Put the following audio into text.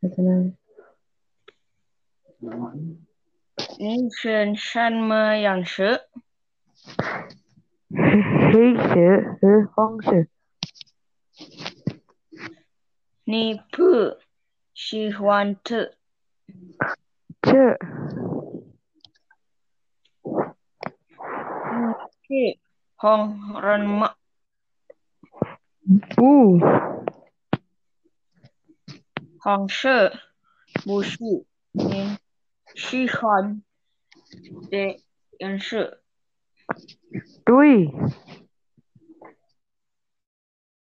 Tottenham. International 养蛇，黑学和方式，你不喜欢吃这去红人吗？不红色不是你喜欢的颜色。对，